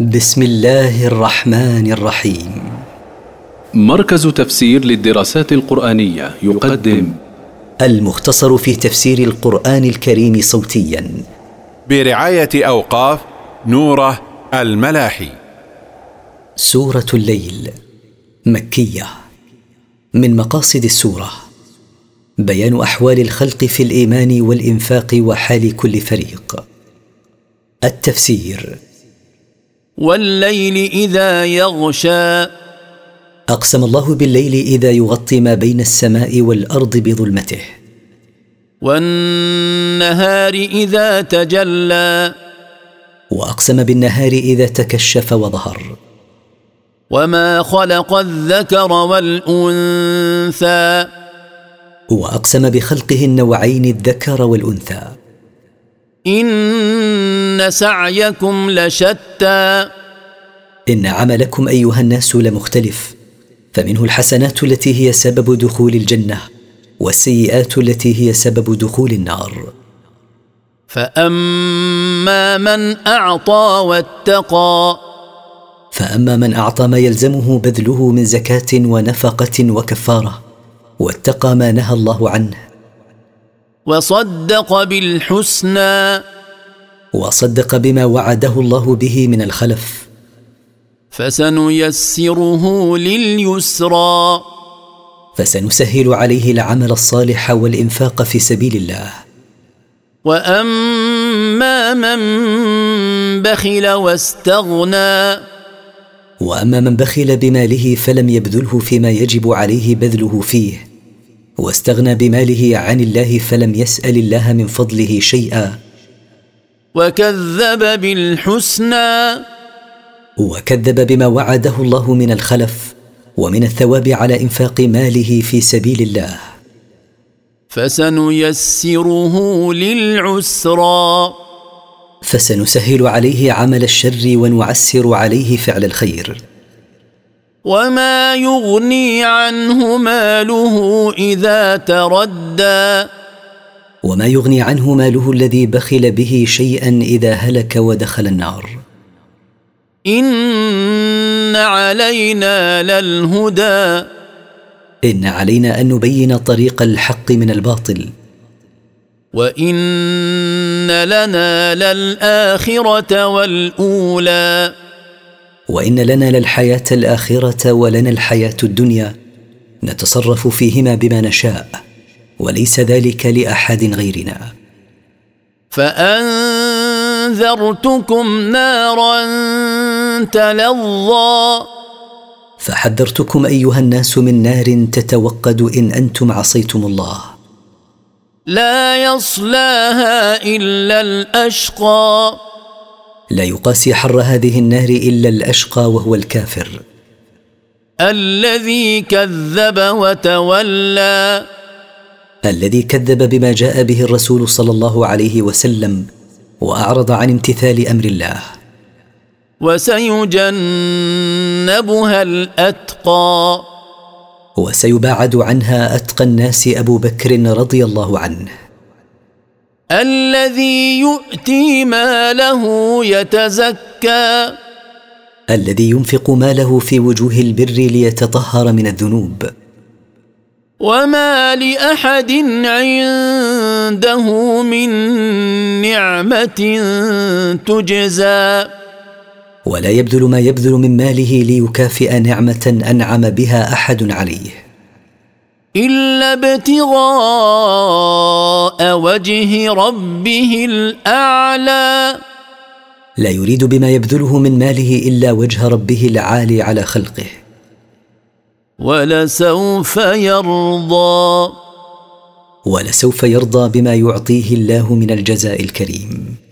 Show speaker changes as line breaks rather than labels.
بسم الله الرحمن الرحيم
مركز تفسير للدراسات القرآنية يقدم
المختصر في تفسير القرآن الكريم صوتيا
برعاية أوقاف نوره الملاحي
سورة الليل مكية من مقاصد السورة بيان أحوال الخلق في الإيمان والإنفاق وحال كل فريق التفسير
والليل اذا يغشى
أقسم الله بالليل إذا يغطي ما بين السماء والأرض بظلمته
والنهار اذا تجلى
وأقسم بالنهار إذا تكشف وظهر
وما خلق الذكر والانثى
وأقسم بخلقه النوعين الذكر والأنثى
ان سعيكم لشتى
إن عملكم أيها الناس لمختلف فمنه الحسنات التي هي سبب دخول الجنة والسيئات التي هي سبب دخول النار
فاما من اعطى واتقى
فأما من أعطى ما يلزمه بذله من زكاة ونفقة وكفارة واتقى ما نهى الله عنه
وصدق بالحسنى
وصدق بما وعده الله به من الخلف
فسنيسره لليسرى
فسنسهل عليه العمل الصالح والإنفاق في سبيل الله
واما من بخل واستغنى
وأما من بخل بماله فلم يبذله فيما يجب عليه بذله فيه واستغنى بماله عن الله فلم يسأل الله من فضله شيئا
وكذب بالحسنى
وكذب بما وعده الله من الخلف ومن الثواب على إنفاق ماله في سبيل الله
فسنيسره للعسرى
فسنسهل عليه عمل الشر ونعسر عليه فعل الخير
وما يغني عنه ماله اذا تردى
وما يغني عنه ماله الذي بخل به شيئا إذا هلك ودخل النار
ان علينا للهدى
إن علينا أن نبين طريق الحق من الباطل
وان لنا للاخره والاولى
وان لنا للحياه الاخره ولنا الحياه الدنيا نتصرف فيهما بما نشاء وليس ذلك لاحد غيرنا
فانذرتكم نارا تلظى
فحذرتكم ايها الناس من نار تتوقد ان انتم عصيتم الله
لا يصلاها الا الاشقى
لا يقاسي حر هذه النار الا الاشقى وهو الكافر
الذي كذب وتولى
الذي كذب بما جاء به الرسول صلى الله عليه وسلم واعرض عن امتثال امر الله
وسيجنبها الاتقى
وسيباعد عنها اتقى الناس ابو بكر رضي الله عنه
الذي يؤتي ماله يتزكى
الذي ينفق ماله في وجوه البر ليتطهر من الذنوب
وما لاحد عنده من نعمه تجزى
ولا يبذل ما يبذل من ماله ليكافئ نعمه انعم بها احد عليه
الا ابتغاء وجه ربه الاعلى
لا يريد بما يبذله من ماله الا وجه ربه العالي على خلقه
ولسوف يرضى
ولسوف يرضى بما يعطيه الله من الجزاء الكريم